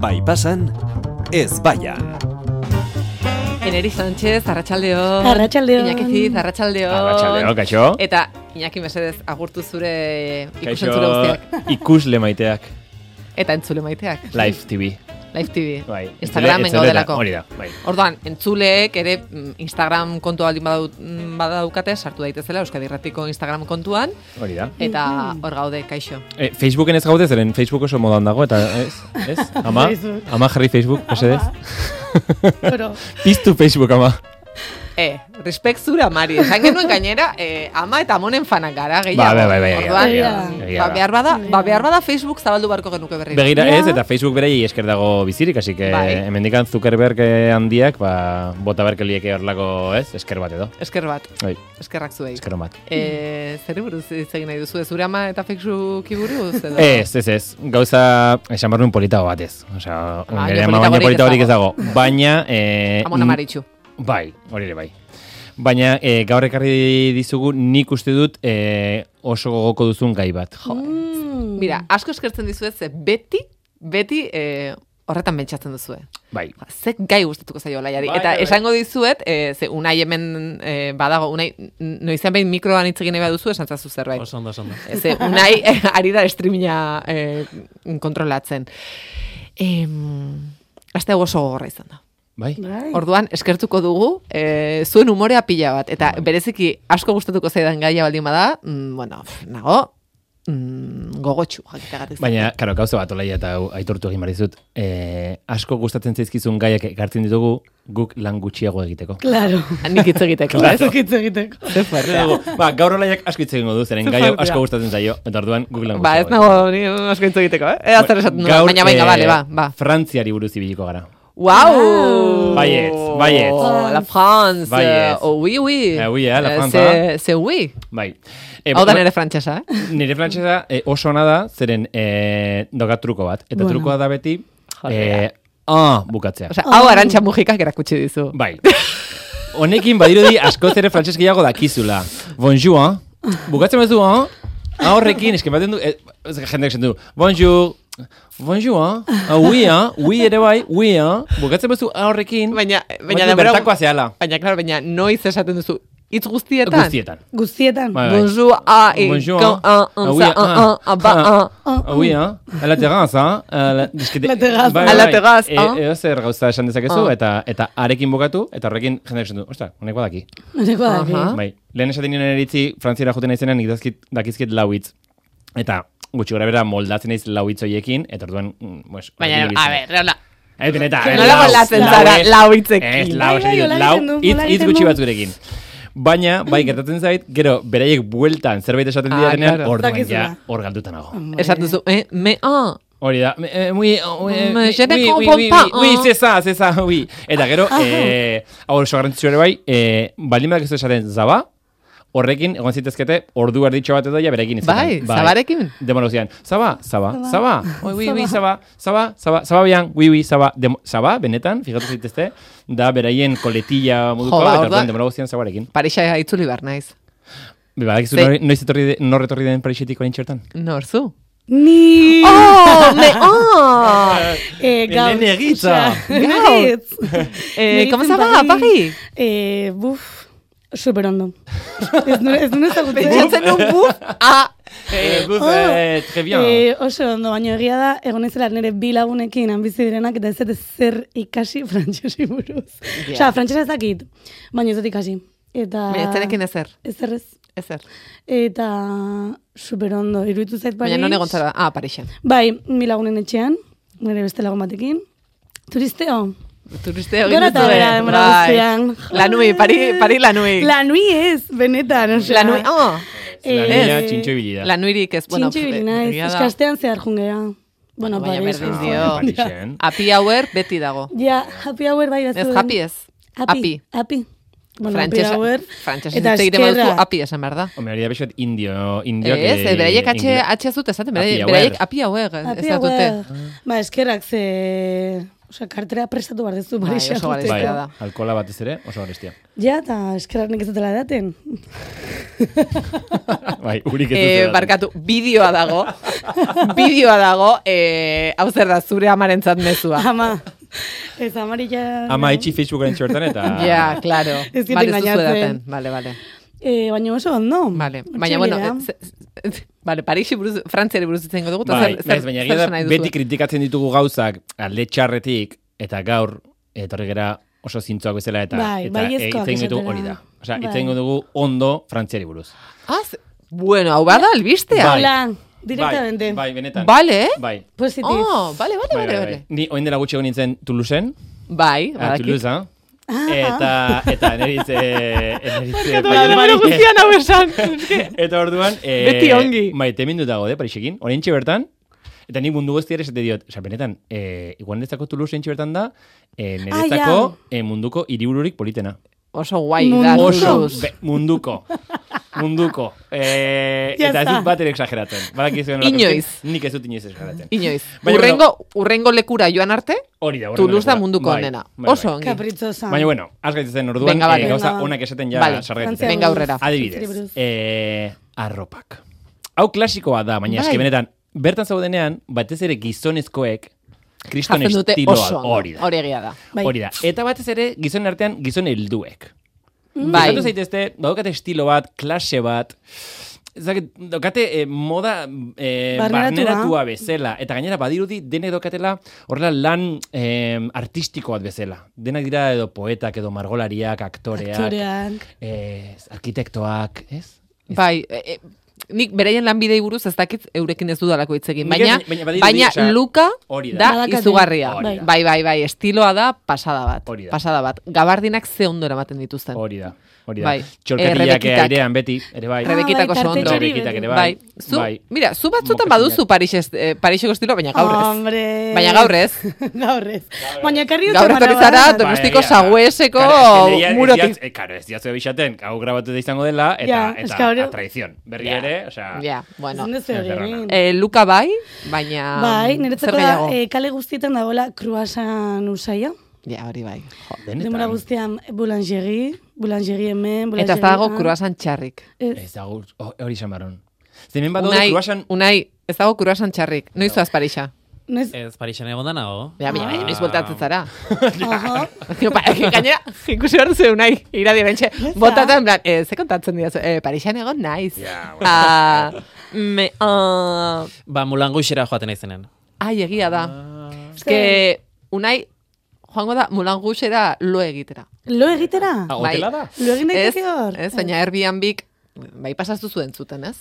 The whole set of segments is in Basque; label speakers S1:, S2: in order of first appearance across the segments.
S1: Bai pasan, ez baian.
S2: Eneri Sánchez, Arratxaldeon.
S3: Arratsaldeon.
S2: Iñaki Ziz, Arratxaldeon.
S4: Arratxaldeo, kaixo.
S2: Eta Iñaki mesedez agurtu zure
S4: Kaixo
S2: ikusentzule guztiak.
S4: ikusle maiteak.
S2: Eta entzule maiteak.
S4: Live TV.
S2: Live TV.
S4: Bai.
S2: Instagramen
S4: Entzule- entzule eta-
S2: gaudelako.
S4: Hori da, bai.
S2: Orduan, entzuleek ere mm, Instagram kontua baldin badau- mm, badaukate, sartu daitezela Euskadi Irratiko Instagram kontuan,
S4: Hori da.
S2: eta hor gaude, kaixo.
S4: E, Facebooken ez gaude zeren Facebook oso modan dago eta ez, ez? Ama,
S3: Facebook.
S4: ama jarri Facebook, mesedez.
S3: Bueno,
S4: Piztu Facebook ama.
S2: E, respekt zure amari. Esan genuen gainera, e, ama eta amonen fanak gara, gehiago.
S4: Ba, bai, bai, bai,
S2: Orduan,
S3: egia da,
S2: mm,
S4: egia da.
S2: ba, behar bada, ba, behar bada Facebook zabaldu barko genuke berri.
S4: Begira
S3: Ja.
S4: ez eta Facebook beraiei esker dago bizirik, así que
S2: Bai.
S4: hemendikan Zuckerberg eh, handiak, ba bota berke lieke horlako, ez? Esker bat edo.
S2: Esker bat,
S4: Bai,
S2: eskerrak zuei.
S4: esker on bat.
S2: E, zerri buruz hitz egin nahi duzu, zure ama eta Facebook buruz edo?
S4: Ez, ez, ez. Gauza, esan barruen politago batez. Osea,
S2: Baina
S4: nire ama
S2: politagorik
S4: baina
S2: ez
S4: polita horik ez dago. Baina... Eh,
S2: Amona maritxu.
S4: Bai, hori ere bai. Baina e, gaur ekarri dizugu nik uste dut e, oso gogoko duzun gai bat. Jo.
S2: Mira, asko eskertzen dizuet, ze beti, beti e, horretan pentsatzen duzue.
S4: Bai.
S2: Ba, Ze gai gustatuko zaio Olaiari.
S4: Bai,
S2: Eta
S4: bai, bai.
S2: esango dizuet, e, ze unai hemen e, badago, unai, n- noizean behin mikroan hitz egin nahi baduzu, esan zazu zerbait.
S5: Oso ondo, oso ondo.
S2: Ze unai eh, ari da streaminga eh, kontrolatzen. Em, aste hau oso gogorra izan da.
S4: Bai?
S3: bai.
S2: Orduan, eskertuko dugu, e, zuen umorea pila bat. Eta bereziki asko gustatuko zaidan gaia baldin bada, mm, bueno, pff, nago, mm, gogotxu jakitegatik.
S4: Baina, karo, gauza bat olaia eta hau aitortu egin barizut. E, asko gustatzen zaizkizun gaiak ekartzen ditugu guk lan gutxiago egiteko.
S3: Claro.
S2: Ah, Nik hitz egiteko,
S3: Ez
S2: ez?
S3: dakit egiteko.
S2: Ze fuertea.
S4: ba, gaur olaiak asko hitz egingo du, zeren gai hau
S3: Fuertea.
S4: asko gustatzen zaio, eta orduan guk lan
S2: Ba, ez
S4: gutxiago.
S2: nago ni asko hitz egiteko, eh? Ea
S4: Ba,
S2: zer esaten duen, baina baina,
S4: eh,
S2: bale, ba, ba.
S4: Frantziari buruz ibiliko gara.
S2: Wow!
S4: Baietz, baietz.
S2: Oh, La France.
S4: Baietz.
S2: Oh, oui, oui.
S4: Eh, oui, eh, la
S2: Eh,
S4: France,
S2: ze- Ze, oui.
S4: Bai. E,
S2: Hau da
S4: ba-
S2: nere frantsesa, eh?
S4: Nire frantsesa eh, oso ona da, zeren eh, daukat truko bat. Eta
S3: Bueno.
S4: trukoa da beti,
S2: Jodera.
S4: eh, ah, bukatzea.
S2: Osea, hau arantxa mugikak erakutsi dizu.
S4: bai. Honekin badirudi askoz ere frantses gehiago dakizula. Bonjour, bukatzen bezu, ah? Ah, horrekin, esken baten du, eh, ez que jendeak esan du, bonjour, bonjour, ah, oui, ah, oui ere bai, oui, ah, bukatzen bezu, ah, horrekin,
S2: Baina, baina
S4: Baina
S2: denbora-
S4: bertakoa zehala.
S2: Baina, claro, baina noiz esaten duzu hitz guztietan.
S4: guztietan.
S3: Guztietan.
S4: Bai, bai.
S2: Bonjour, ah, et
S4: Bonjour.
S2: quand, un, un,
S4: Ah oui,
S2: ça,
S4: ah,
S2: un, un, ah, bah,
S4: ah,
S2: un.
S3: un,
S4: Ah oui, hein? A la terrasse, hein? A la, dizke-
S3: La terraza.
S4: Bai,
S2: A la
S4: bai.
S2: terraza,
S4: E-
S2: ah.
S4: Edo zer gauza esan dezakezu,
S2: Ah.
S4: eta eta arekin bukatu, eta horrekin jendeak esan du. Ostra, honek badaki.
S3: Horreko daki.
S2: Aha. Ah.
S4: Bai, lehen esaten nien eritzi, frantziera juten naizenean, nik dazkit, dakizkit lau hitz. Eta gutxi gora bera moldatzen naiz lau hitz hoiekin, eta orduan, mm, pues,
S2: Baina,
S4: horrekin
S2: a
S4: ibiltzen.
S2: ver, hola.
S4: Ez benetan,
S2: Que
S4: ez,
S2: nola
S4: lau,
S2: moldatzen
S4: lau,
S2: zara
S4: ez.
S2: lau hitzekin.
S4: Ez, lau,
S3: Bai, bai,
S4: esan ditut,
S3: hola
S4: lau,
S3: egiten du,
S4: hitz,
S3: hola
S4: hitz
S3: egiten
S4: gutxi
S3: du.
S4: batzurekin. Baina, bai, gertatzen zait, gero, beraiek bueltan zerbait esaten
S2: Ah,
S4: diarenean,
S2: claro.
S4: orduan ja,
S3: Dakizula.
S4: hor galduta nago.
S2: Esaten duzu, eh, me, ah.
S4: Hori da. Me- eh, Oui, eh,
S2: Me-
S4: oui,
S2: Mm, je ne
S4: oui, oui,
S2: comprends
S4: oui,
S2: pas,
S4: oui, oui,
S2: hein. Ah,
S4: c'est ça, c'est ça, oui. Eta gero, eh, hau oso garrantzitsua ere bai, eh, baldin badak ez du esaten zaba, horrekin egon zitezkete ordu erditxo bat edo ja berekin
S2: Bai, zabarekin.
S4: Demora guztian, zaba, zaba, zaba, oi, oui, oui, zaba, zaba, zaba, zaba bian, oui, oui, zaba, Demo- zaba, benetan, fijatu zitezte, da beraien koletilla moduko,
S2: Jo, ba,
S4: eta
S2: orduan-
S4: orduan demora guztian zabarekin.
S2: Parisa itzuli behar naiz.
S4: Badakizu
S2: Ze-
S4: nor- noiz etorri, de- nor etorri den Parisetik orain txertan?
S2: Norzu.
S3: Ni...
S2: Oh, me, ah.
S3: Eh, gaur.
S4: Elene Egitza.
S3: Osea,
S2: Gaur.
S3: Egitz.
S2: Eh,
S3: Nire
S2: ¿cómo se
S3: izen
S2: llama? Pagi?
S3: Eh, buf. Superondo. ez nuen ez nuen ezagutzen.
S2: Pentsatzen un buf, ah.
S4: Eh, buf,
S3: Oh.
S4: eh, très bien.
S3: Eh, oso ondo, baina egia da, egon ezela nire bi lagunekin han bizi direnak eta ez dut zer ikasi frantsesi buruz.
S2: Ja.
S3: Osea, frantsesa ez dakit, baina ez dut ikasi. Eta...
S2: Baina ez zenekin ezer,
S3: Ezer ez.
S2: ezer.
S3: Eta superondo, iruditu zait Paris.
S2: Baina non egon zara, ah, Parisen.
S3: Bai, mi lagunen etxean, nire beste lagun batekin. Turisteo.
S2: Turisteo
S3: Gora eta
S2: genituen,
S3: bera demora
S2: bai.
S3: guztian.
S2: Lanui, Pari, Pari lanui.
S3: Lanui ez, benetan. osea.
S2: Lanui, ah.
S4: La
S3: eh,
S4: niña txintxoibili da.
S2: Lanuirik ez, bueno.
S3: Txintxo ibili
S2: eh,
S3: naiz,
S2: egia da.
S3: eskastean zehar jungea. Bueno,
S2: Baina
S3: Paris. eh.
S2: berdin
S4: Ah,
S2: dio.
S4: Parisen.
S2: Happy hour beti dago.
S3: Ja, happy hour bai
S2: Ez
S3: bazuen.
S2: happy ez. Happy.
S3: Happy. Bueno,
S2: Frantsesa-
S3: happy hour.
S2: frantsesez
S3: Eta
S2: hitz egiten baduzu
S3: eskerra.
S2: happy esan behar da.
S4: Hombre, hori da pixat indio, indio. Bai,
S2: Ez, eh, beraiek atxe, atxe zut esaten, beraiek, beraiek happy hour
S3: Happy
S2: ez dute.
S3: hour. Ba, eskerrak ze... Osea, kartera prestatu behar dezu
S2: Bai,
S3: Parisa.
S2: oso
S3: joateko.
S4: Bai,
S2: garestia da.
S4: alkola batez ere, oso garestia.
S3: Ja, eta eskerarnik ez dutela edaten.
S4: bai, urik ez
S2: Eh,
S4: dut
S2: barkatu, bideoa dago. bideoa dago, eh, hau zer da, zure amarentzat mezua.
S3: Ama, ez amari ja...
S4: Ba. Ama itxi Facebooken txortan eta...
S2: Ja, claro.
S3: Ez dut
S2: Bale, ez duzu
S3: engainatzen.
S2: edaten. Bale, bale.
S3: Eh, baina oso ondo.
S2: Bale, baina, bueno,
S3: Otsailera.
S2: ez- ez- bale, Parixi buruz, Frantziari buruz itzen dugu, eta
S4: Bai,
S2: zer, zer,
S4: naiz, baina egia
S2: zer
S4: da,
S2: nahi duzu.
S4: beti kritikatzen ditugu gauzak alde txarretik, eta gaur, etorri gera oso zintzoak bezala, eta, eta
S3: Bai,
S4: e,
S3: baiezkoak
S4: egiten dugu
S3: esatera.
S4: hori da. Osea,
S3: Bai.
S4: egiten dugu ondo frantziari buruz.
S2: Az, Ah, bueno, hau bada albistea.
S4: Bai.
S3: Hola, directamente.
S4: Bai, bai, benetan.
S2: Bale,
S4: Bai.
S3: Positif.
S2: Oh, bale, bale,
S4: Bai,
S2: bale,
S4: bai, bai.
S2: bale.
S4: Ni oin dela gutxi egon nintzen Toulouseen,
S2: Bai,
S4: ah,
S2: badakit. Ah.
S4: Toulouse, eta, eta neritz, eh, neritz, eh,
S2: Eta denbora
S4: bai-
S2: guztian hau esan. eske.
S4: Eta orduan, eh,
S2: Beti ongi.
S4: Maite mindu dago, eh, de, Parisekin. Horentxe bertan, eta ni mundu guztiare esate diot, oza, benetan, eh, igual niretzako Toulouse horentxe bertan da, eh,
S2: Ah,
S4: niretzako eh, munduko hiribururik politena.
S2: Oso guai da,
S3: Munduko.
S4: Oso,
S2: Ah, Toulouse.
S4: be, munduko. Munduko. Eh,
S3: Ya
S4: eta ez
S3: está.
S4: dut bat ere exageratzen. Badakizuen horrelako
S2: Inoiz.
S4: esker, Nik ez dut inoiz exageratzen.
S2: Inoiz.
S4: Baina,
S2: urrengo, urrengo lekura joan arte,
S4: Hori da, horrengo
S2: Toulouse da
S4: lekua.
S2: munduko
S4: Bai,
S2: onena.
S4: bai, bai.
S2: Oso ongi.
S3: Caprichosa.
S4: Baina, bueno, has gaitezen orduan,
S2: Venga, vale.
S4: eh, gauza
S3: Venga.
S4: onak esaten ja
S2: Vale.
S4: sargaitezen.
S3: Frantzia
S2: Venga,
S3: buruz.
S2: aurrera.
S3: Frantzia buruz.
S4: Adibidez, eh, arropak. Hau klasikoa da, baina eske
S2: Bai.
S4: benetan, bertan zaudenean, batez ere gizonezkoek, kriston
S2: Jatzen dute
S4: estiloa
S2: oso ondo.
S4: hori da.
S2: Hori egia da.
S3: Bai.
S4: Hori da. Eta batez ere, gizon artean, gizon helduek.
S2: Bai.
S4: Bai. zaitezte, badukate estilo bat, klase bat, Zaket, dokate eh, moda eh,
S3: Barneratua.
S4: barneratua bezala, eta gainera badirudi denek dokatela horrela lan eh, artistiko bat bezala. Denak dira edo poetak, edo margolariak, aktoreak,
S3: Aktoreak.
S4: eh, arkitektoak, ez?
S2: Bai, e, e, nik bereien lanbidei buruz ez dakit eurekin ez dudalako hitz egin,
S4: Nik
S2: baina
S4: ez- baina badirudi,
S2: baina
S4: osea,
S2: Luka
S4: hori da.
S2: da
S3: Badakate.
S2: izugarria.
S4: Hori
S2: Bai,
S4: da.
S2: bai, bai, estiloa da pasada bat.
S4: Hori da.
S2: Pasada bat. Gabardinak ze ondo eramaten dituzten.
S4: Hori da, hori da.
S2: Bai. Eh,
S4: Txolkeriak
S2: Rebekitak.
S4: airean beti, ere bai.
S2: Rebe- Rebekitako
S3: Ah,
S2: oso ondo.
S3: tartetxori
S4: Rebekitak
S3: beti.
S4: ere
S2: Bai, zu,
S4: bai.
S2: mira, zu batzutan
S4: Mokasinak.
S2: baduzu Parisez, eh, Pariseko estilo, baina gaur ez.
S3: Hombre.
S2: Baina gaur ez.
S3: gaur ez. Baina karri
S2: Gaur etorri zara,
S4: Bai,
S2: Donostiko
S4: egia da.
S2: Sagueseko
S4: Claro, ez que leia- ez
S2: murotik.
S4: diat- eh, Claro, ez diatzu bisaten, hau grabatu da izango dela, eta,
S3: Ja,
S4: eta
S3: es que hori-
S4: a traición. Berri ere, osea...
S2: Ja, bueno.
S3: Ezin dezu
S4: Ez derrana.
S3: egin.
S2: Eh, Luka bai, baina...
S3: Bai,
S2: zer
S3: niretzako da
S2: gehiago?
S3: eh, kale guztietan dagoela kruasan usaia.
S2: Ja, hori bai. Jo.
S4: Benetan.
S3: Demora guztian boulangeri, boulangeri hemen, boulangeri
S2: Eta ez dago kruasan txarrik.
S4: Ez dago, oh, hori izan barron. Zemen bat Ba, daude
S2: Unai,
S4: kruasan...
S2: unai, ez dago kruasan txarrik. Noiz zoaz Parisa?
S3: Noiz,
S5: Ez, Parixen egon da nago.
S2: Ja, baina, baina, noiz
S5: Ah.
S2: bueltatzen zara.
S3: aha,
S2: Ba, Gainera, ikusi behar duzu unai, iradi bentxe. Botata, en plan, eh, ze kontatzen dira, eh, Parisan egon naiz.
S4: Ja, bueno.
S2: Ah, me, ah,
S5: Ba, mulanguxera joaten naizenen.
S2: ai, egia da.
S3: Ah.
S2: Ez que, unai, joango da, mulangusera lo egitera.
S3: lo egitera?
S4: Ah,
S2: Bai.
S4: hotela da?
S3: Lo egin
S2: Ez,
S3: daiteke Eh. hor?
S2: ez, baina Airbnb-k, bai pasaztu zuen zuten, ez?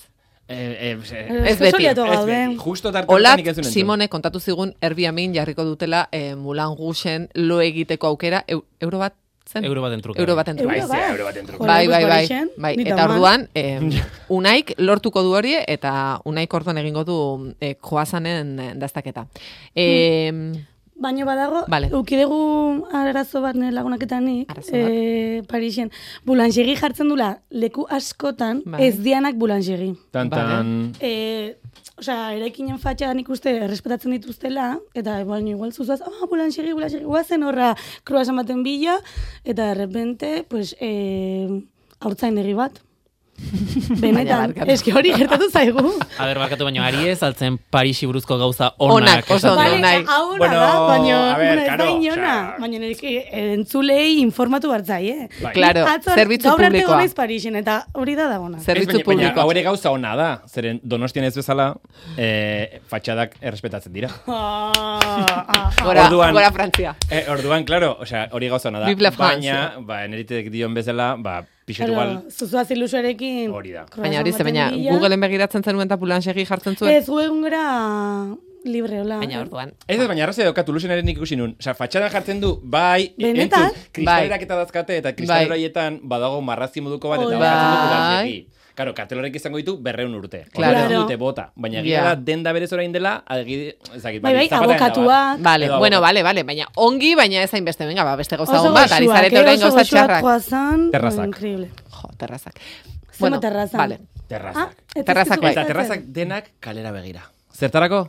S4: Eh, eh, eh,
S3: Eh,
S2: ez
S3: oso
S2: beti,
S3: liatu
S4: ez
S3: gaude.
S4: beti. Justo tarte
S2: Olat,
S4: honetan nik ez duen entzun.
S2: Simone kontatu zigun Airbnb jarriko dutela eh, Mulan Gusen lo egiteko aukera eu- euro bat zen?
S5: Euro baten truke.
S2: Euro baten truke.
S4: Bai,
S3: Euro
S4: ze,
S3: bat.
S4: euro baten truke.
S2: Bai, bai, bai.
S3: Horrelako
S2: bai. Eta
S3: Parisen, nita
S2: orduan, eh, unaik lortuko du hori eta unaik orduan egingo du eh, joazanen eh, daztaketa. Eh,
S3: Hmm. Baina badago,
S2: Vale.
S3: ukidegu arazo bat nire lagunaketan ni,
S2: Arazo bat.
S3: eh, Parisen, boulangeri jartzen dula leku askotan
S2: Bai.
S3: ez dianak boulangeri.
S4: Tan, tan...
S3: E, Osa, eraikinen fatxadan ikuste errespetatzen dituztela, eta baina igual zuzuaz, ah, boulangeri, boulangeri, guazen horra kruasan baten bila, eta de repente, pues, e, haurtzaindegi bat. Benetan,
S2: barkatu.
S3: eski hori gertatu zaigu.
S5: Aber, barkatu baino, ari ez, altzen Parixi buruzko gauza
S2: Onak,
S5: onak.
S2: oso
S5: esatea.
S2: onak.
S3: Bale,
S2: nahi.
S3: ahora
S4: Bueno,
S3: da, baina,
S4: a ver,
S3: bueno, ez
S4: claro,
S3: da inona.
S4: o sea-
S3: Baina nire entzulei informatu hartzai, eh?
S4: Bai.
S2: Claro,
S3: Atzo,
S2: zerbitzu
S3: gaur arte
S2: publikoa.
S3: egon naiz Parisen, eta hori da dagona.
S2: Zer- Zerbitzu
S4: Ez, baina-
S2: publikoa.
S4: Baina, hau ere gauza ona da, zeren donostian ez bezala, eh, fatxadak errespetatzen dira.
S3: Ah, ah, ah.
S2: gora,
S4: Orduan-
S2: gora Frantzia.
S4: Eh, orduan, claro, osea, hori gauza ona da.
S2: Vive la France.
S4: baina, ba, neritek dion bezala, ba, pixetu gal...
S3: Claro, zuzuaz ilusoarekin.
S4: Hori da.
S3: croissant
S2: Baina hori ze,
S3: baten
S2: baina
S3: bila.
S2: Googleen begiratzen zenuen eta Mulan segi jartzen zuen.
S3: Ez, gu egun gara libre, hola.
S2: Baina orduan.
S4: Ez ez, baina arrazia doka Tuluzen ere nik ikusi nun. Osa, fatxadan jartzen du, bai,
S3: Benetan?
S4: entzun, kristalerak eta dazkate, eta
S2: Bai.
S4: kristaleroietan badago marrazki moduko bat, eta
S3: Hori
S4: hor jartzen du
S2: da.
S4: kulantzegi. Claro, kartelorek izango ditu berreun urte.
S2: Claro.
S4: Claro. dute bota. Baina egia
S2: Ja.
S4: da denda berez orain dela, agi, ezakit,
S3: Bai,
S4: zapata
S3: bai,
S4: denda bat.
S3: abokatuak.
S2: Vale,
S4: Edo
S2: bueno,
S4: abokatu.
S2: vale, vale, baina ongi, baina ez hainbeste, venga, ba, beste gauza
S3: Oso
S2: hon bat, ari
S3: goxuak,
S2: zarete
S3: eh,
S2: orain
S3: oso
S2: gauza
S3: goxuak
S2: txarrak.
S3: croissant,
S4: Terrazak.
S3: Increíble.
S2: Jo, terrazak.
S3: Bueno, terrazan.
S2: Vale.
S4: Terrazak.
S3: Ah, eta
S2: Terrazak
S3: ez
S2: bai.
S3: duzu
S4: Eta
S3: gustatzen.
S4: terrazak denak kalera begira. Zertarako?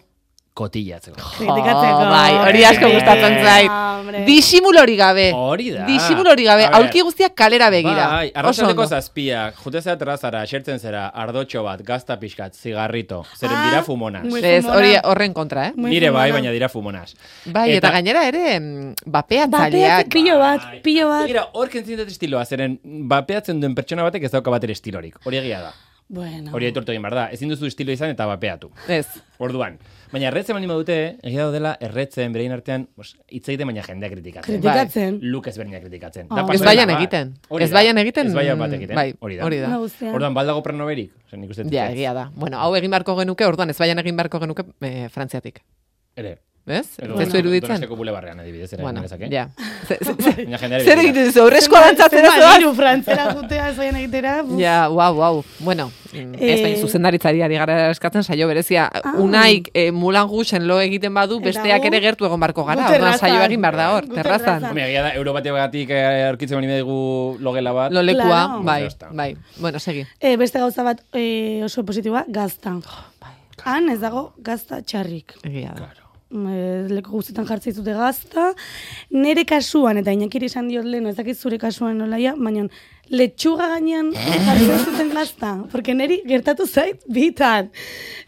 S4: kotillatzeko.
S3: Kritikatzeko.
S2: bai, hori asko
S3: Hombre, Ah,
S2: gustatzen
S3: hombre.
S2: zait. Disimul hori gabe.
S4: Hori da.
S2: Disimul hori gabe,
S4: A ber.
S2: aurki guztiak kalera begira.
S4: Bai,
S2: Oso
S4: arratsaldeko
S2: ondo.
S4: zazpiak, jute zera terrazara, xertzen zera, ardotxo bat, gazta pixkat, zigarrito, zeren dira
S3: Ah,
S4: fumonas.
S3: muy-
S2: Ez, hori
S3: fumona.
S2: horren kontra, eh?
S3: Muy
S4: Nire bai,
S3: fumona.
S4: baina dira fumonas.
S2: Bai, eta, gainera ere, mm, bapean
S3: Bateak,
S2: zaleak.
S3: pilo bat, pilo bat.
S4: Mira, hor kentzen dut estiloa, zeren bapeatzen duen pertsona batek ez dauka bater estilorik. Hori egia da.
S3: Bueno.
S4: Hori aitortu egin behar da. Ezin duzu estilo izan eta bapeatu.
S2: Ez,
S4: Orduan. Baina erretzen baldin badute, egia daudela erretzen berein artean, pues, hitz egiten baina jendea kritikatzen.
S2: Bai.
S3: Kritikatzen.
S4: Luk ezberdinak kritikatzen.
S3: Ah.
S4: pasada
S3: Ez
S2: baian
S4: da, ba.
S2: egiten.
S4: Hori
S2: Ez
S4: da.
S2: baian egiten,
S4: Ez baian bat
S2: mm,
S4: egiten.
S2: bai,
S4: hori da.
S2: hori da.
S3: Una guztian.
S4: Orduan ba, baldago pranoberik. Zer nik uste dut
S2: ja,
S4: ez.
S2: egia da. Bueno, hau egin beharko genuke, orduan ez baian egin beharko genuke eh, frantziatik.
S4: Ere.
S2: Ez?
S4: Edo-
S2: Ez zu iruditzen?
S4: Donostiako bulebarrean adibidez, ere.
S2: Bueno,
S4: genezake.
S2: ja.
S4: ¿eh?
S2: Ze- ze- ze-
S4: Baina jendeari
S2: Zer
S4: begira.
S2: egiten duzu, aurrezko dantzatzera
S3: Zenbat
S2: zoaz?
S3: hiru frantzera jutea zaien egitera. buf.
S2: Ja, wow, wow. Bueno, mm, ez
S3: Eh, Ah.
S2: bain zuzendaritzari ari gara eskatzen saio berezia. Unaik eh, Mulan Gusen lo egiten badu,
S3: Eta
S2: besteak
S3: gu-
S2: ere gertu egon barko gara.
S3: gu
S2: Orduan saio
S3: terrazan.
S2: egin behar da hor,
S3: Gu
S2: terrazan.
S3: terrazan.
S4: Hombre, egia da, Europatia bagatik eh, aurkitzen bani dugu logela bat.
S2: Lolekua,
S3: Claro.
S2: bai,
S4: Ya está.
S2: bai. Bueno, segi.
S3: Eh, beste gauza bat eh, oso positiboa, gazta.
S2: Oh, bai.
S3: Han ez dago gazta txarrik.
S2: Egia da.
S3: Eh, leku guztietan jartzen dute gazta. Nere kasuan, eta inakiri esan diot lehen, ez dakit zure kasuan nolaia, baina letxuga gainean jartzen zuten gazta. Porque neri gertatu zait bitan.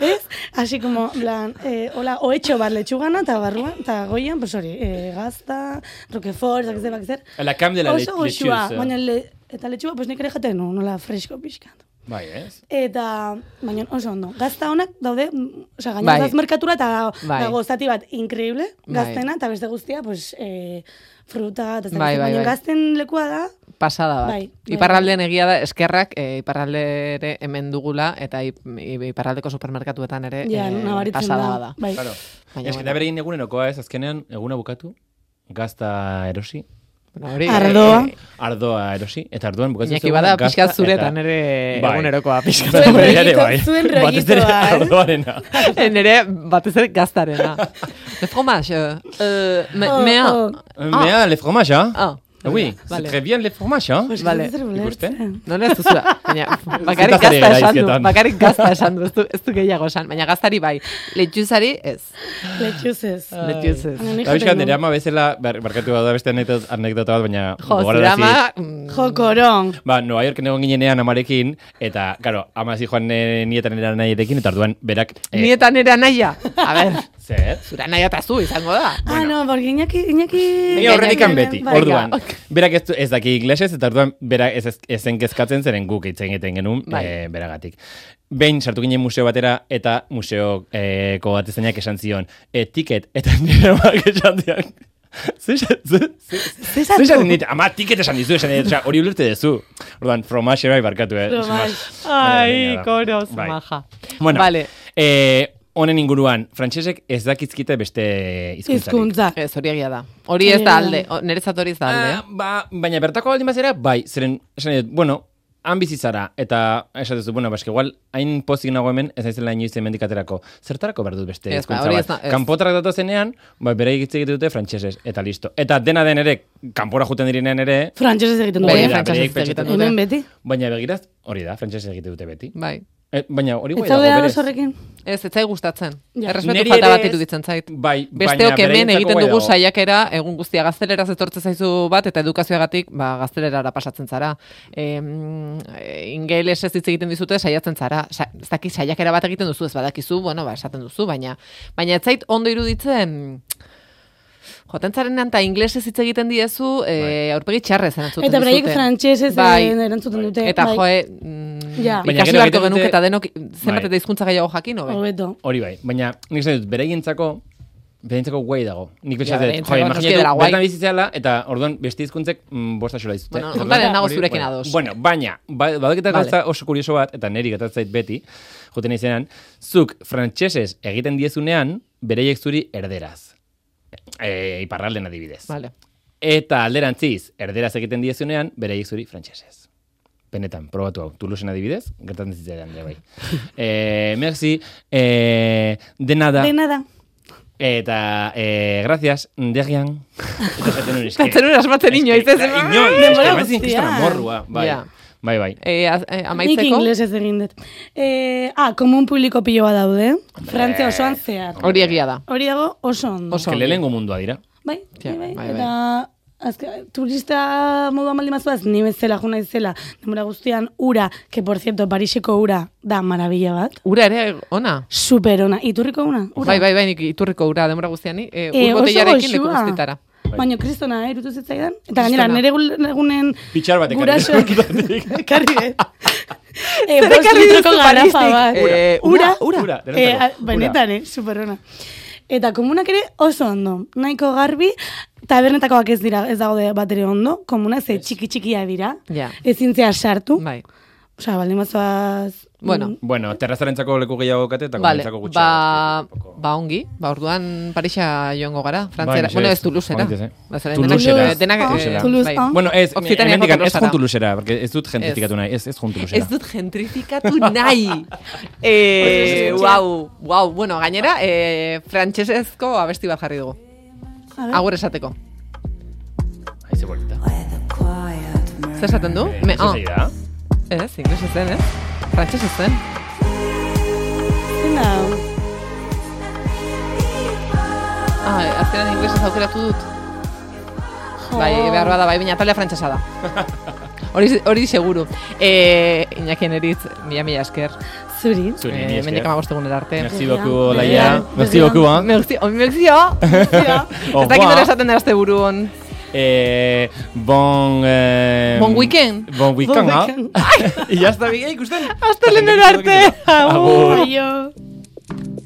S3: Ez? Hasi como, plan, eh, hola, oetxo bat letxugana, eta barruan, eta goian, pues hori, eh, gazta, roquefort, ez dakit zer, bakit zer.
S4: La cam de la
S3: Oso goxua,
S4: lechuza.
S3: baina le, eta letxuga, pues nik ere jaten, nu, nola fresko pixkat.
S4: Bai, ez?
S3: Eta, baina oso ondo. Gazta honak daude, mm, osea, gaina
S2: Bai.
S3: bai. merkatura eta dago,
S2: Bai.
S3: dago zati bat inkreible,
S2: Bai.
S3: gaztena, eta beste guztia, pues, e, fruta, eta ez dakit,
S2: Bai, bai,
S3: baina
S2: bai.
S3: gazten lekua da,
S2: Pasada bat.
S3: Bai, bai.
S2: Iparraldean egia da, eskerrak, eh, iparralde ere hemen dugula, eta ip, i- iparraldeko supermerkatuetan ere
S3: ja,
S2: eh,
S3: nabaritzen
S2: pasada
S3: da.
S2: bat da.
S3: Bai.
S4: Claro.
S2: Baina,
S4: Ez que
S2: bueno.
S4: da berein egunerokoa ez, azkenean, eguna bukatu, gazta erosi,
S2: Bueno, hori,
S3: Ardoa.
S2: eh,
S4: ardoa erosi, eta ardoan bukatzen
S2: Iñaki bada
S4: gazta
S2: pixka zuretan
S4: eta-
S2: ere
S4: Bai.
S2: egunerokoa pixka.
S4: Bai,
S3: Zuen
S4: ere bai.
S3: rollito, zuen
S4: Batez ere
S3: rollitoa, eh?
S4: ardoarena.
S2: Nere batez ere gaztarena. Le fromage, eh, eh, me,
S3: Oh,
S2: mea.
S3: oh.
S4: Mea, le fromage, ah?
S2: Ah,
S4: Oui,
S2: vale.
S4: c'est très bien le fromage, ah?
S3: Pues,
S2: Vale.
S3: ez dut
S4: Ikusten?
S3: ulertzen.
S2: Nola ez duzula, baina bakarrik
S4: Zutaz ari
S2: gazta
S4: gara
S2: esan du,
S4: hizketan.
S2: bakarrik gazta esan du, ez du, ez du gehiago esan, baina gaztari bai, letxuzari ez,
S3: Letxuz ez.
S4: Ah.
S2: letxuz ez.
S3: Baina nik
S4: Eta bizka,
S3: jaten
S4: nire
S3: nuen.
S4: ama bezala, bar- barkatu bada beste anekdota anekdota bat, baina
S2: Jo, zure
S4: gogorarazi-
S2: ama,
S3: Jokoron.
S4: Ba, Nueva Yorken egon ginenean amarekin, eta, claro, ama zi joan eh, nietan era nahietekin, eta arduan berak... eh,
S2: nietan era naia, a ber,
S4: Zer?
S2: zura naia eta zu izango da.
S3: Ah, no, porque Iñaki...
S4: Ni
S3: Iñaki...
S2: Venga,
S4: aurretik
S2: venga,
S4: beti,
S2: venga.
S4: orduan.
S2: Ok.
S4: Berak ez, du- ez daki inglesez, eta orduan berak ez, ez zen kezkatzen zeren guk hitz egiten genuen
S2: Bai.
S4: eh, beragatik. Behin sartu ginen museo batera eta museoko eh, batezainak esan zion eh, tiket eta nire amak esan dian. Zer esan- zer- zer- zer esan dit? Ama tiket esan dizu, esan dit, osea, hori ulerte dezu. Orduan, fromaxe bai barkatu, eh?
S3: Fromaxe.
S4: fromage.
S2: Ai,
S4: Baina, baina,
S2: koroz,
S4: bai.
S2: maja.
S4: Bueno,
S2: Vale.
S4: eh, honen inguruan, frantsesek ez dakizkite beste hizkuntzarik.
S3: Hizkuntza.
S2: Ez, hori egia da. Hori ez da alde, o- niretzat hori ez da alde.
S4: Ah, ba, baina bertako baldin bazera, bai, zeren, esan dut, bueno, han bizi zara eta esatezu, bueno, baske, igual, hain pozik nago hemen, ez aizela inoiz hemendik aterako. Zertarako behar dut beste
S2: Ez da,
S4: hizkuntza
S2: hori ez
S4: bat?
S2: da, ez.
S4: Kanpotarrak datozenean, ba, bere hitz egite dute frantsesez, eta listo. Eta dena den ere, kanpora juten direnean ere,
S3: Frantsesez egiten
S2: Bai,
S4: Hori
S3: dugu. eh?
S4: da, beraiek
S2: frantsesez hitz egiten
S4: pentsatzen
S2: dute.
S3: Hemen beti.
S4: baina begiraz, hori da, frantsesez egite dute beti.
S2: Bai.
S4: Eh, baina hori
S3: Ez
S4: guai dago,
S3: zaude
S4: berez.
S3: ados horrekin?
S2: Ez, ez zai gustatzen.
S3: Ja.
S2: Errespetu
S4: Neri
S2: falta
S4: ere
S2: bat
S4: ez,
S2: iruditzen zait.
S4: bai,
S2: Besteok
S4: baina
S2: hemen
S4: beraientzako
S2: egiten
S4: guai
S2: dugu
S4: dago.
S2: saiakera, egun guztia gazteleraz etortzen zaizu bat, eta edukazioagatik ba, gaztelerara pasatzen zara. E, ingeles ez hitz egiten dizute, saiatzen zara. Sa, ez daki saiakera bat egiten duzu, ez badakizu, bueno, ba, esaten duzu, baina baina ez zait ondo iruditzen... Joten zarenan eta inglesez hitz egiten diezu, e, aurpegi txarrez erantzuten
S3: Eta beraiek
S2: dizute.
S3: frantsesez
S2: Bai.
S3: eh, erantzuten dute.
S2: Eta
S3: bai.
S2: joe, mm,
S3: Ja.
S4: Baina
S2: ikasi
S4: gero
S2: beharko
S4: egiten
S2: genuke
S4: dute-
S2: eta denok
S4: Bai.
S2: zenbat eta hizkuntza gehiago jakin, hobe.
S3: Hobeto.
S4: Hori bai, baina nik esan dut, beraientzako, beraientzako guai dago. Nik pentsatzen,
S2: beraientzako
S4: jo,
S2: noski dela
S4: imaginatu,
S2: guai.
S4: bertan bizitzela, eta orduan beste hizkuntzek mm, bosta xola dizute.
S2: Bueno,
S4: Orduan,
S2: horretan ez nago
S4: hori-
S2: zurekin
S4: bueno,
S2: ados.
S4: Bueno, baina, ba- badaketa
S2: Vale.
S4: gauza oso kurioso bat, eta neri gertatzen zait beti, joten izenan, zuk frantsesez egiten diezunean, bereiek zuri erderaz. E, iparralden adibidez.
S2: Vale.
S4: Eta alderantziz, erderaz egiten diezunean, bereiek zuri frantsesez. Benetan, probatu hau. Tuluzen adibidez, gertatzen zitzaidan ere bai. eh, merci, eh, de nada,
S3: De nada.
S4: eta eh, gracias, derrian. Eta jaten nuen eske.
S2: Katzen hori asmatzen
S4: Eske,
S2: inoiz, ez?
S4: Inoiz,
S3: Denbora
S4: eske, baizik
S3: guztian.
S4: kriston amorrua, bai.
S2: Ja.
S4: Bai, bai.
S2: E, a, e,
S3: Nik
S2: amaitzeko,
S3: inglesez egin dut. Eh, ah, komun publiko pilo bat daude. Frantzia osoan zehar.
S2: hori egia da.
S3: Hori dago oso ondo.
S2: Oso
S4: Que
S2: ongi.
S4: lehengo mundua dira.
S3: Bai,
S2: Ja,
S3: bai, bai,
S2: bai,
S3: Eta azke- turista moduan baldin bazuaz, ni bezala juna izela, denbora guztian ura, que por cierto, Pariseko ura da maravilla bat.
S2: Ura ere ona.
S3: Super ona, iturriko una. Ura.
S2: Bai, bai, bai, nik iturriko ura demora guztiani. E,
S3: Eh,
S2: ur
S3: oso
S2: botellarekin leku
S3: goxua.
S2: guztitara.
S3: Baina kristona, eh, irutu zitzaidan. Eta gainera,
S2: Kristona.
S3: nire gul- egunen
S4: Pitxar bat ekarri
S3: gurasoek ekarri dut. Eh, bost
S2: ekarri
S3: litroko
S2: duzu
S3: garrafa
S2: Paristik?
S3: bat.
S2: Eh,
S3: ura,
S2: ura,
S4: ura, denetako,
S3: Eh, a-
S4: ura.
S3: benetan, eh, superona. Eta komunak ere oso ondo, nahiko garbi, tabernetakoak ez dira, ez dago bat ere ondo, komuna ze txiki txikia dira,
S2: Ja.
S3: ezin zea sartu,
S2: Bai.
S3: osea, baldin bazoaz... mm,
S2: Bueno,
S4: Bueno, terrazarentzako leku gehiago kate eta
S2: Vale,
S4: komentzako gutxi.
S2: ba, ba ongi, ba orduan Parisa joango gara, Frantzera,
S4: mesedez,
S2: bueno, ez Tulusera.
S4: momentuz, eh.
S2: Bazaren
S4: Tulusera.
S2: denak- denak, eh,
S4: Tulusera.
S3: Tulus,
S2: bai.
S3: ah.
S4: Bueno, ez,
S2: Okzitaniako
S4: hemendik ez
S2: tolosara.
S4: juntulusera, porque ez dut gentrifikatu nahi, ez, ez juntulusera.
S2: Ez dut gentrifikatu nahi. eh, wow, wow. Bueno, gainera, eh, frantsesezko abesti bat jarri dugu.
S3: A ber.
S2: Agur esateko.
S4: Aize bolita.
S2: Zer esaten du? Me,
S4: Ez
S2: ah,
S4: hori da?
S2: ez, inglesez zen, ez? eh? Frantsesez zen.
S3: Zein da?
S2: Ah, azkenan inglesez aukeratu dut. Bai, behar bada, bai, baina talea frantsesa da. Hori, hori seguru. Eh, Iñakien eritz, mila mila esker.
S3: Zuri.
S4: Zuri,
S2: Eh,
S4: mila esker.
S2: Mendik amabostegunera arte. Oh,
S4: Merci
S3: Bestean.
S4: beaucoup, Olaia.
S3: Bestean.
S4: Merci beaucoup, ha.
S2: Me gustio, me gustio. me gustio.
S4: Au
S2: Ez dakit
S4: revoir.
S2: nola esaten dara azte buru hon.
S4: Eh, bon... Eh,
S2: Bon weekend.
S4: Bon weekend,
S3: Bon
S4: ha.
S3: weekend.
S4: Ia ez da bigea ikusten.
S2: Hasta lehenero arte. Agur.
S3: Aio.